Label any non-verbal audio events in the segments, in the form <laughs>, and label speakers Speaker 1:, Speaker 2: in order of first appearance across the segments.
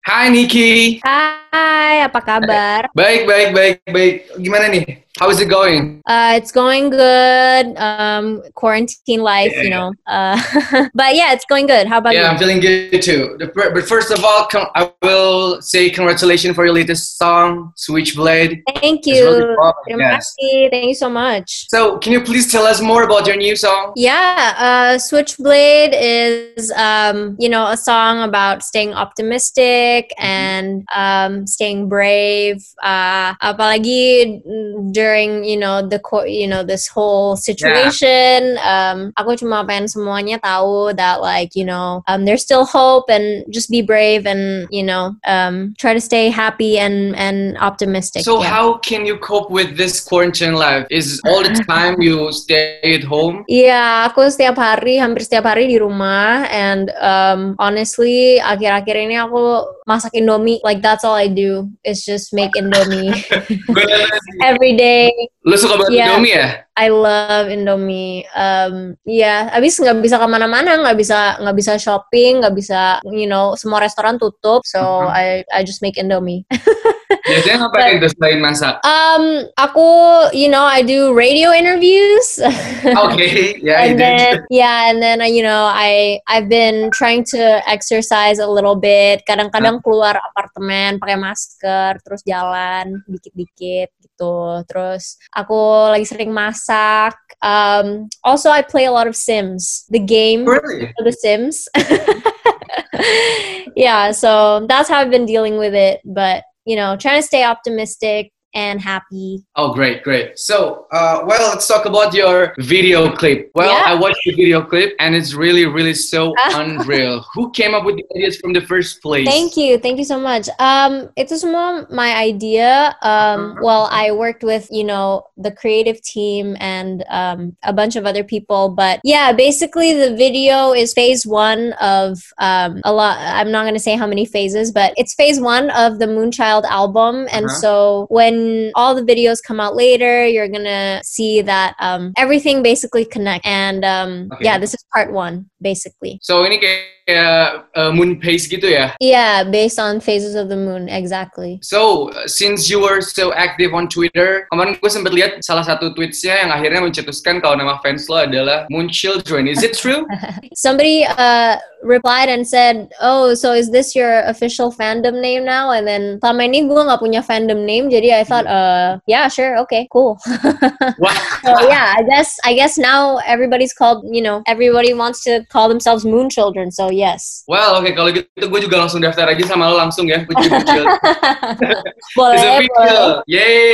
Speaker 1: Hai Niki.
Speaker 2: Hai, apa kabar?
Speaker 1: Baik, baik, baik, baik. Gimana nih? How is it going?
Speaker 2: Uh, it's going good. Um, quarantine life, you know. Uh, <laughs> but yeah, it's going good. How about
Speaker 1: Yeah,
Speaker 2: you?
Speaker 1: I'm feeling good too. The fir- But first of all, con- I will say congratulations for your latest song, Switchblade.
Speaker 2: Thank
Speaker 1: It's
Speaker 2: you.
Speaker 1: really popping,
Speaker 2: Terima
Speaker 1: yes.
Speaker 2: kasih. Thank you so much.
Speaker 1: So, can you please tell us more about your new song?
Speaker 2: Yeah, uh, Switchblade is, um, you know, a song about staying optimistic and um, staying brave. Uh, apalagi during, you know, the co- you know this whole situation. Um, aku cuma pengen semuanya tahu that like you know um, there's still hope and just be brave and you know um, try to stay happy and and optimistic.
Speaker 1: So,
Speaker 2: yeah.
Speaker 1: how can you cope with this quarantine life? Is all
Speaker 2: <laughs>
Speaker 1: the time you stay at home?
Speaker 2: Iya, aku setiap hari, hampir setiap hari di rumah. And um, honestly, akhir-akhir ini aku masak Indomie. Like that's all I do. It's just make Indomie every day.
Speaker 1: Lu suka banget
Speaker 2: Yeah.
Speaker 1: Indomie ya?
Speaker 2: I love Indomie. Um, ya, habis nggak bisa kemana-mana, nggak bisa nggak bisa shopping, nggak bisa, you know, semua restoran tutup. So
Speaker 1: Mhm.
Speaker 2: I I just make Indomie.
Speaker 1: Biasanya ngapain tuh selain masak?
Speaker 2: Um, aku, you know, I do radio interviews. <laughs>
Speaker 1: <laughs> Oke, ya
Speaker 2: and
Speaker 1: itu.
Speaker 2: then yeah and then uh, you know I I've been trying to exercise a little bit kadang-kadang keluar apartemen pakai masker terus jalan dikit-dikit gitu terus aku lagi sering masak um, also I play a lot of Sims the game
Speaker 1: Really?
Speaker 2: of the Sims <laughs> yeah so that's how I've been dealing with it but you know trying to stay optimistic and happy
Speaker 1: Oh, great, great. So, uh, well, let's talk about your video clip. Well,
Speaker 2: Yeah.
Speaker 1: I watched the video clip and it's really, really
Speaker 2: <laughs>
Speaker 1: so
Speaker 2: Ah.
Speaker 1: unreal. Who came up with the ideas from the first place?
Speaker 2: Thank you, thank you so much. Um, itu semua my idea. Um,
Speaker 1: Mhm.
Speaker 2: well, I worked with you know the creative team and um, a bunch of other people, but yeah, basically the video is phase one of um, a lot. I'm not gonna say how many phases, but it's phase one of the Moonchild album, and
Speaker 1: Uh-huh.
Speaker 2: so when all the videos come out later, you're gonna see that um, everything basically connect. And um,
Speaker 1: Okay.
Speaker 2: yeah, this is part one basically.
Speaker 1: So, ini kayak uh, moon pace gitu ya.
Speaker 2: Yeah, based on phases of the moon, exactly.
Speaker 1: So, uh, since you were so active on Twitter, kemarin gue sempat lihat salah satu tweetsnya yang akhirnya mencetuskan kalau nama fans lo adalah Moon Children. Is it true?
Speaker 2: <laughs> Somebody uh, replied and said, "Oh, so is this your official fandom name now?" And then selama ini gue nggak punya fandom name, jadi I thought, uh, yeah, sure, okay, cool.
Speaker 1: Wah,
Speaker 2: So yeah, I guess I guess now everybody's called, you know, everybody wants to call themselves Moon Children. So yes. <laughs>
Speaker 1: Well, oke kalau gitu gue juga langsung daftar aja sama lo langsung ya. Gue jadi Moon Children. It's
Speaker 2: boleh, boleh.
Speaker 1: official. Yay.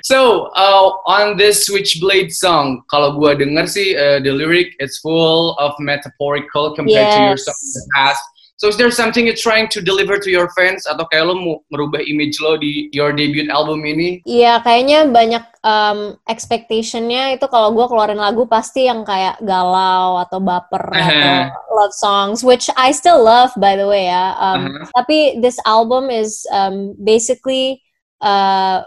Speaker 1: <laughs> so, uh, on this Switchblade song, kalau gua denger sih uh, the lyric it's full of metaphorical compared to your
Speaker 2: Yes.
Speaker 1: song in the past. So is there something you're trying to deliver to your fans atau kayak lo mau merubah image lo di your debut album ini?
Speaker 2: Iya, kayaknya banyak um, expectationnya itu kalau gue keluarin lagu pasti yang kayak galau atau baper
Speaker 1: Aha.
Speaker 2: atau love songs, which I still love by the way ya. Um,
Speaker 1: Uh-huh.
Speaker 2: Tapi this album is um, basically uh,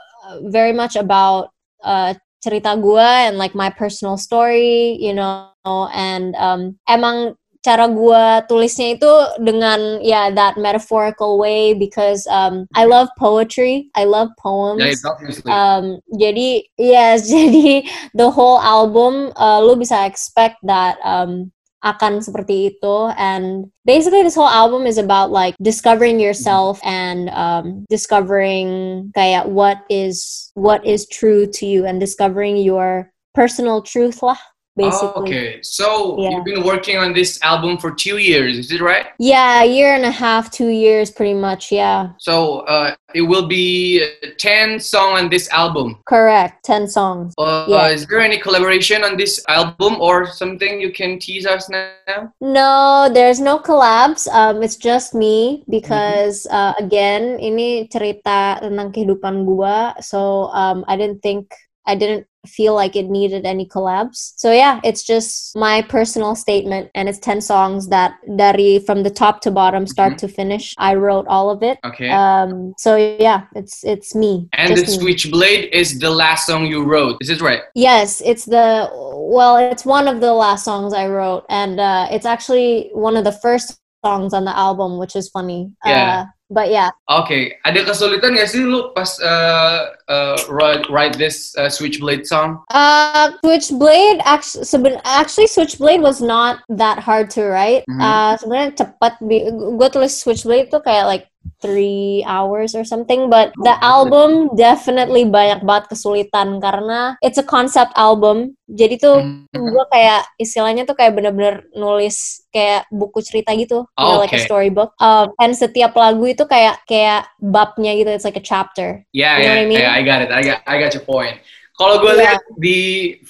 Speaker 2: very much about uh, cerita gue and like my personal story, you know, and um, emang cara gue tulisnya itu dengan ya that metaphorical way because um, I love poetry, I love poems.
Speaker 1: Yeah, it's obviously.
Speaker 2: Um, jadi yes, <laughs> jadi the whole album uh, lu bisa expect that um, akan seperti itu and basically this whole album is about like discovering yourself and um, discovering kayak what is what is true to you and discovering your personal truth lah
Speaker 1: Oh,
Speaker 2: basically.
Speaker 1: okay. So,
Speaker 2: Yeah.
Speaker 1: you've been working on this album for two years, is it right?
Speaker 2: Yeah, a year and a half, two years pretty much, yeah.
Speaker 1: So, uh, it will be uh, 10 song on this album.
Speaker 2: Correct. 10 songs.
Speaker 1: Uh,
Speaker 2: Yeah.
Speaker 1: Is there any collaboration on this album or something you can tease us now?
Speaker 2: No, there's no collabs. Um, it's just me because uh, again, ini cerita tentang kehidupan gua. So um, I didn't think I didn't feel like it needed any collabs. So yeah, it's just my personal statement, and it's ten songs that dari from the top to bottom, start to finish, I wrote all of it.
Speaker 1: Okay.
Speaker 2: Um, so yeah, it's it's me.
Speaker 1: and the
Speaker 2: just me.
Speaker 1: Switchblade is the last song you wrote. Is it right?
Speaker 2: Yes, it's the well, it's one of the last songs I wrote, and uh, it's actually one of the first songs on the album, which is funny.
Speaker 1: Yeah.
Speaker 2: Uh, but yeah
Speaker 1: okay ada kesulitan gak sih lu pas uh, uh, write, write this uh, switchblade song
Speaker 2: uh switchblade actually, seben- actually switchblade was not that hard to write
Speaker 1: Mhm.
Speaker 2: uh sebenarnya cepat bi- gue tulis switchblade tuh kayak like three hours or something but the album definitely banyak banget kesulitan karena it's a concept album jadi tuh
Speaker 1: Mhm.
Speaker 2: gue kayak istilahnya tuh kayak bener-bener nulis kayak buku cerita gitu, you
Speaker 1: Oh,
Speaker 2: know, like a
Speaker 1: okay.
Speaker 2: storybook. Um, and setiap lagu itu kayak kayak babnya gitu, it's like a chapter.
Speaker 1: yeah
Speaker 2: You know
Speaker 1: yeah,
Speaker 2: what I mean?
Speaker 1: yeah, I got it I got I got your point kalau gue
Speaker 2: Yeah.
Speaker 1: lihat di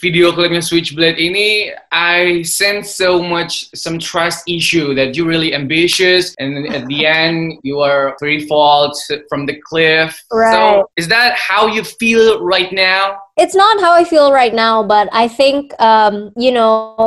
Speaker 1: video klipnya Switchblade ini, I sense so much some trust issue that you're really ambitious, and then at
Speaker 2: <laughs>
Speaker 1: the end you are three falls from the cliff.
Speaker 2: Right.
Speaker 1: So is that how you feel right now?
Speaker 2: It's not how I feel right now, but I think um, you know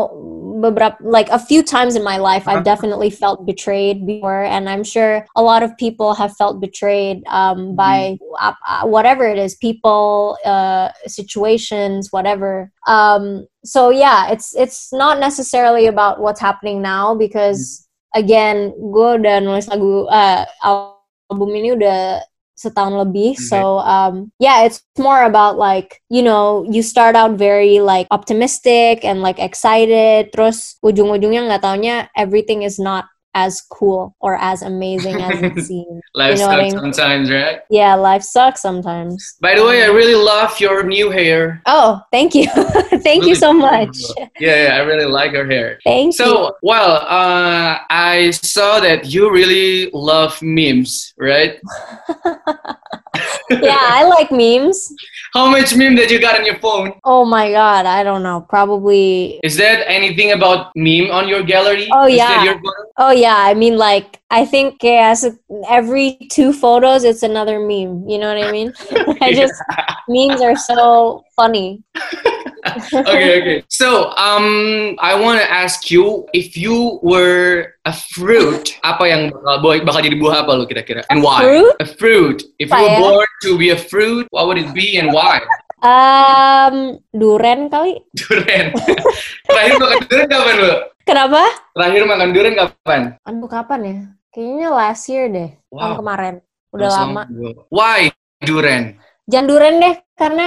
Speaker 2: beberapa like a few times in my life I've definitely felt betrayed before, and I'm sure a lot of people have felt betrayed um, by uh, uh, whatever it is, people, uh, situations, whatever. Um, so yeah, it's it's not necessarily about what's happening now because again, gue udah nulis lagu uh, al- album ini udah setahun lebih.
Speaker 1: Okay.
Speaker 2: So um, yeah, it's more about like you know you start out very like optimistic and like excited. Terus ujung-ujungnya nggak taunya everything is not as cool or as amazing as
Speaker 1: <laughs>
Speaker 2: it seems.
Speaker 1: Life
Speaker 2: You know what
Speaker 1: sucks
Speaker 2: I mean?
Speaker 1: sometimes, right?
Speaker 2: Yeah, life sucks sometimes.
Speaker 1: By the way, I really love your new hair.
Speaker 2: Oh, thank you, <laughs> thank you so
Speaker 1: Really
Speaker 2: much.
Speaker 1: beautiful. Yeah, yeah, I really like her hair.
Speaker 2: Thank you.
Speaker 1: So, well, uh, I saw that you really love memes, right?
Speaker 2: Yeah, I like memes.
Speaker 1: How much meme that you got on your phone?
Speaker 2: Oh my god, I don't know. Probably
Speaker 1: Is that anything about meme on your gallery?
Speaker 2: Oh,
Speaker 1: Is
Speaker 2: yeah.
Speaker 1: that your photo?
Speaker 2: Oh yeah, I mean like I think as every two photos it's another meme. You know what I
Speaker 1: <laughs>
Speaker 2: mean? <laughs> I just memes are so funny.
Speaker 1: okay,
Speaker 2: <laughs>
Speaker 1: okay. So, um, I want to ask you if you were a fruit, apa yang bakal, boy, bakal jadi buah apa lo kira-kira? And why?
Speaker 2: Fruit?
Speaker 1: A fruit. If you
Speaker 2: Apa
Speaker 1: were
Speaker 2: ya?
Speaker 1: born to be a fruit, what would it be and why? <laughs>
Speaker 2: Um, duren kali. <laughs>
Speaker 1: Duren. Terakhir makan duren kapan lo?
Speaker 2: Kenapa?
Speaker 1: Terakhir makan duren kapan?
Speaker 2: Aduh kapan ya? Kayaknya last year deh, tahun
Speaker 1: Wow.
Speaker 2: kemarin. Udah
Speaker 1: Langsung
Speaker 2: lama.
Speaker 1: gua. Why duren?
Speaker 2: Jangan duren deh, karena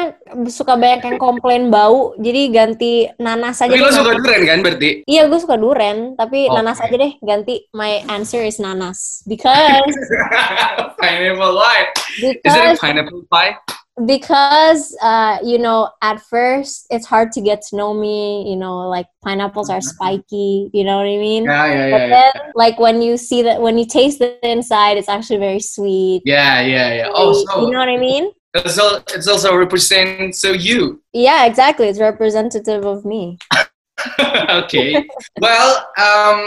Speaker 2: suka banyak yang komplain bau. Jadi ganti nanas aja.
Speaker 1: Tapi lo
Speaker 2: deh.
Speaker 1: suka duren kan berarti? <laughs>
Speaker 2: Iya, gue suka duren, tapi
Speaker 1: Oke.
Speaker 2: nanas aja deh. Ganti my answer is nanas because
Speaker 1: pineapple why? <laughs> Is it a
Speaker 2: because
Speaker 1: pineapple pie?
Speaker 2: because uh, you know at first it's hard to get to know me you know like pineapples are spiky you know what i mean
Speaker 1: Mm-hmm. Yeah, yeah,
Speaker 2: but
Speaker 1: yeah. yeah.
Speaker 2: then like when you see that when you taste the inside it's actually very sweet
Speaker 1: Yeah, yeah, yeah. Oh, so
Speaker 2: you know what i mean
Speaker 1: it's, all, it's also represent so you. <laughs>
Speaker 2: yeah exactly it's representative of me <laughs>
Speaker 1: okay. Well, um,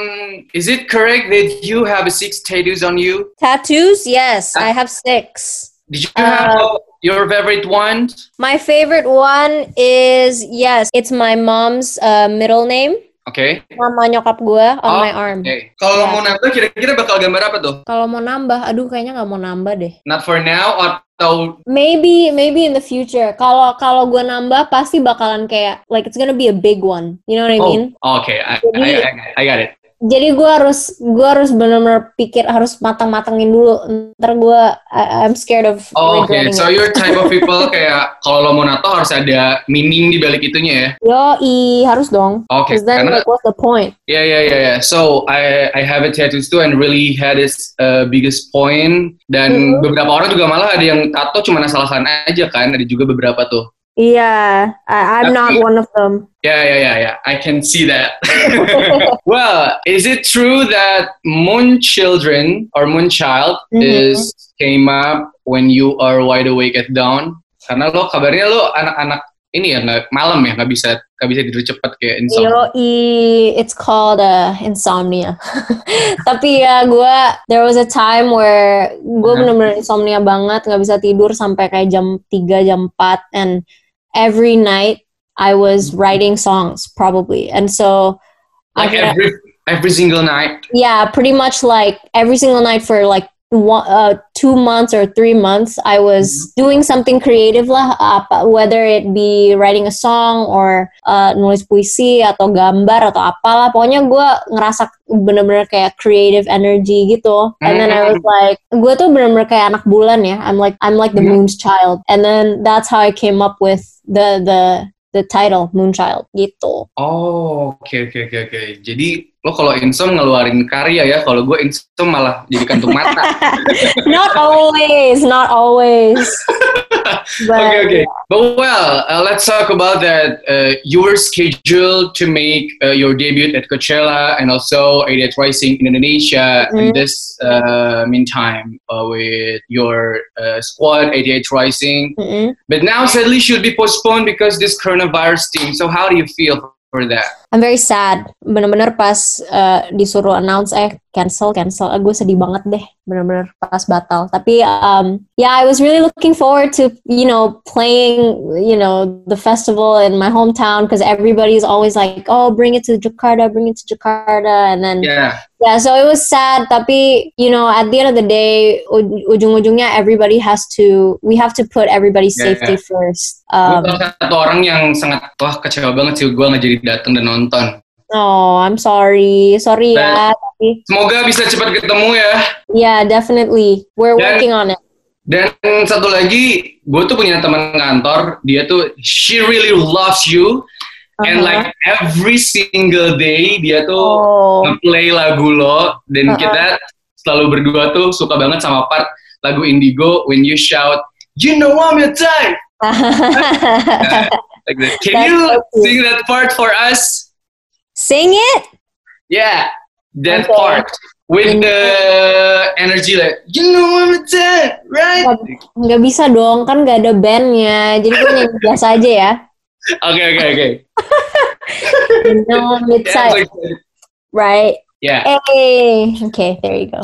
Speaker 1: is it correct that you have six tattoos on you?
Speaker 2: tattoos yes
Speaker 1: Ah.
Speaker 2: i have six
Speaker 1: Did you have
Speaker 2: Uh,
Speaker 1: your favorite one?
Speaker 2: my favorite one is yes it's my mom's uh, middle name
Speaker 1: Okay.
Speaker 2: mama nyokap gue on
Speaker 1: Oh,
Speaker 2: my arm
Speaker 1: Okay. Kalau
Speaker 2: Mm-hmm. Yeah.
Speaker 1: mau nambah kira-kira bakal gambar apa tuh?
Speaker 2: kalau mau nambah aduh kayaknya nggak mau nambah deh
Speaker 1: Not for now atau
Speaker 2: Maybe maybe in the future. Kalau kalau gue nambah pasti bakalan kayak like it's gonna be a big one. You know what I mean?
Speaker 1: Oh, okay. I, I,
Speaker 2: Jadi-
Speaker 1: I, I got it.
Speaker 2: Jadi gue harus gue harus benar-benar pikir harus matang-matangin dulu. Ntar gue I- I'm scared of
Speaker 1: Oh, oke.
Speaker 2: regretting
Speaker 1: So
Speaker 2: it.
Speaker 1: your type of
Speaker 2: <laughs>
Speaker 1: people kayak kalau lo mau nato harus ada meaning di balik itunya ya.
Speaker 2: Yo i harus dong.
Speaker 1: Oke.
Speaker 2: Because then
Speaker 1: Karena
Speaker 2: like what's the point?
Speaker 1: Yeah, yeah, yeah, yeah. So I I have a tattoos too and really had this uh, biggest point dan
Speaker 2: Mhm.
Speaker 1: beberapa orang juga malah ada yang tato cuma asal-asalan aja kan ada juga beberapa tuh.
Speaker 2: Iya, I- I'm not
Speaker 1: Tapi-
Speaker 2: one of them.
Speaker 1: Yeah, yeah, yeah, yeah. I can see that. well, is it true that moon children or moon child
Speaker 2: Mhm.
Speaker 1: is came up when you are wide awake at dawn? Karena lo kabarnya lo anak-anak ini ya nggak malam ya nggak bisa nggak bisa tidur cepat kayak insomnia.
Speaker 2: Yo i it's called uh, insomnia. <laughs> Tapi ya gue there was a time where gue
Speaker 1: Mhm.
Speaker 2: bener-bener insomnia banget nggak bisa tidur sampai kayak jam 3 jam 4 and every night I was writing songs probably and so
Speaker 1: Hmm. Like
Speaker 2: akhirnya-
Speaker 1: every every single night.
Speaker 2: yeah pretty much like every single night for like one, uh, two months or three months, I was doing something creative lah, apa, whether it be writing a song or uh, nulis puisi atau gambar atau apalah. Pokoknya gue ngerasa bener-bener kayak creative energy gitu. And then I was like, gue tuh bener-bener kayak anak bulan ya. I'm like, I'm like the moon's child. And then that's how I came up with the the the title Moonchild gitu.
Speaker 1: Oh, oke oke oke oke. Jadi lo kalau insom ngeluarin karya ya, kalau gue insom malah jadi kantung
Speaker 2: <laughs>
Speaker 1: mata.
Speaker 2: not always,
Speaker 1: <laughs>
Speaker 2: not always. But,
Speaker 1: okay, okay. But well, uh, let's talk about that. Uh, you were scheduled to make uh, your debut at Coachella and also ADH Rising in Indonesia. In
Speaker 2: Mhm.
Speaker 1: this uh, meantime, uh, with your uh, squad ADH Rising,
Speaker 2: Mm-mm.
Speaker 1: but now sadly should be postponed because this coronavirus thing. So how do you feel for that?
Speaker 2: I'm very sad. Bener-bener pas uh, disuruh announce eh cancel cancel, ah, gue sedih banget deh. Bener-bener pas batal. Tapi um, yeah, I was really looking forward to you know playing you know the festival in my hometown because everybody's always like oh bring it to Jakarta, bring it to Jakarta, and then
Speaker 1: Yeah.
Speaker 2: Yeah, so it was sad. Tapi, you know, at the end of the day, u- ujung-ujungnya everybody has to, we have to put everybody's
Speaker 1: Yeah,
Speaker 2: safety first.
Speaker 1: Gue
Speaker 2: Um,
Speaker 1: salah satu orang yang sangat wah kecewa banget sih gue nggak jadi datang dan nonton.
Speaker 2: oh, I'm sorry. Sorry ya. Tapi,
Speaker 1: Semoga bisa cepat ketemu ya.
Speaker 2: yeah, definitely. We're
Speaker 1: Dan-
Speaker 2: working on it.
Speaker 1: Dan satu lagi, gue tuh punya teman kantor, dia tuh she really loves you and
Speaker 2: Uh-huh.
Speaker 1: like every single day dia tuh
Speaker 2: oh,
Speaker 1: nge-play lagu lo dan
Speaker 2: Uh-uh.
Speaker 1: kita selalu berdua tuh suka banget sama part lagu Indigo when you shout you know I'm your type <laughs> like that. Can
Speaker 2: That's
Speaker 1: you
Speaker 2: so cute.
Speaker 1: sing that part for us?
Speaker 2: <laughs> sing it.
Speaker 1: Yeah, that
Speaker 2: Okay.
Speaker 1: part with the energy like you know I'm a dad, right?
Speaker 2: Nggak, nggak bisa dong, kan nggak ada bandnya. Jadi gue nyanyi biasa aja ya.
Speaker 1: Okay, okay, okay.
Speaker 2: You know, it's
Speaker 1: <laughs> Yeah,
Speaker 2: like,
Speaker 1: it's like-
Speaker 2: right?
Speaker 1: yeah. <laughs>
Speaker 2: Hey, okay, there you go.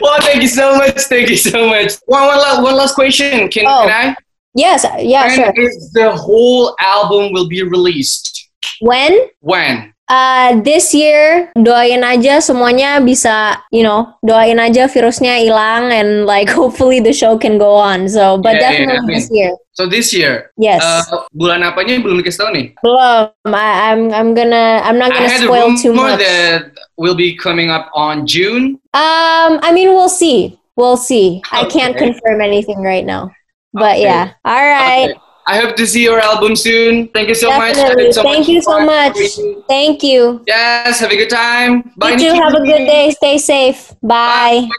Speaker 1: well, thank you so much. Thank you so much. One, one, last, one last question. Can,
Speaker 2: Oh,
Speaker 1: can I?
Speaker 2: Yes, yeah,
Speaker 1: when
Speaker 2: sure.
Speaker 1: is the whole album will be released?
Speaker 2: When?
Speaker 1: When?
Speaker 2: Uh, this year doain aja semuanya bisa you know doain aja virusnya hilang and like <laughs> hopefully the show can go on so
Speaker 1: Yeah,
Speaker 2: but
Speaker 1: yeah,
Speaker 2: definitely
Speaker 1: amin.
Speaker 2: this year
Speaker 1: So this year.
Speaker 2: yes
Speaker 1: Uh, bulan apanya belum dikasih tahu nih?
Speaker 2: belum I, I'm I'm gonna I'm not
Speaker 1: I
Speaker 2: gonna
Speaker 1: had a
Speaker 2: spoil too
Speaker 1: rumor
Speaker 2: much
Speaker 1: that will be coming up on June.
Speaker 2: um I mean we'll see we'll see I can't
Speaker 1: Okay.
Speaker 2: confirm anything right now but
Speaker 1: Okay.
Speaker 2: yeah all right
Speaker 1: Okay. I hope to see your album soon. Thank you so much. I
Speaker 2: definitely
Speaker 1: had so much
Speaker 2: thank you so
Speaker 1: fun
Speaker 2: much
Speaker 1: with you.
Speaker 2: thank you
Speaker 1: Yes, have a good time.
Speaker 2: you
Speaker 1: Nikki.
Speaker 2: too have a good day stay safe bye.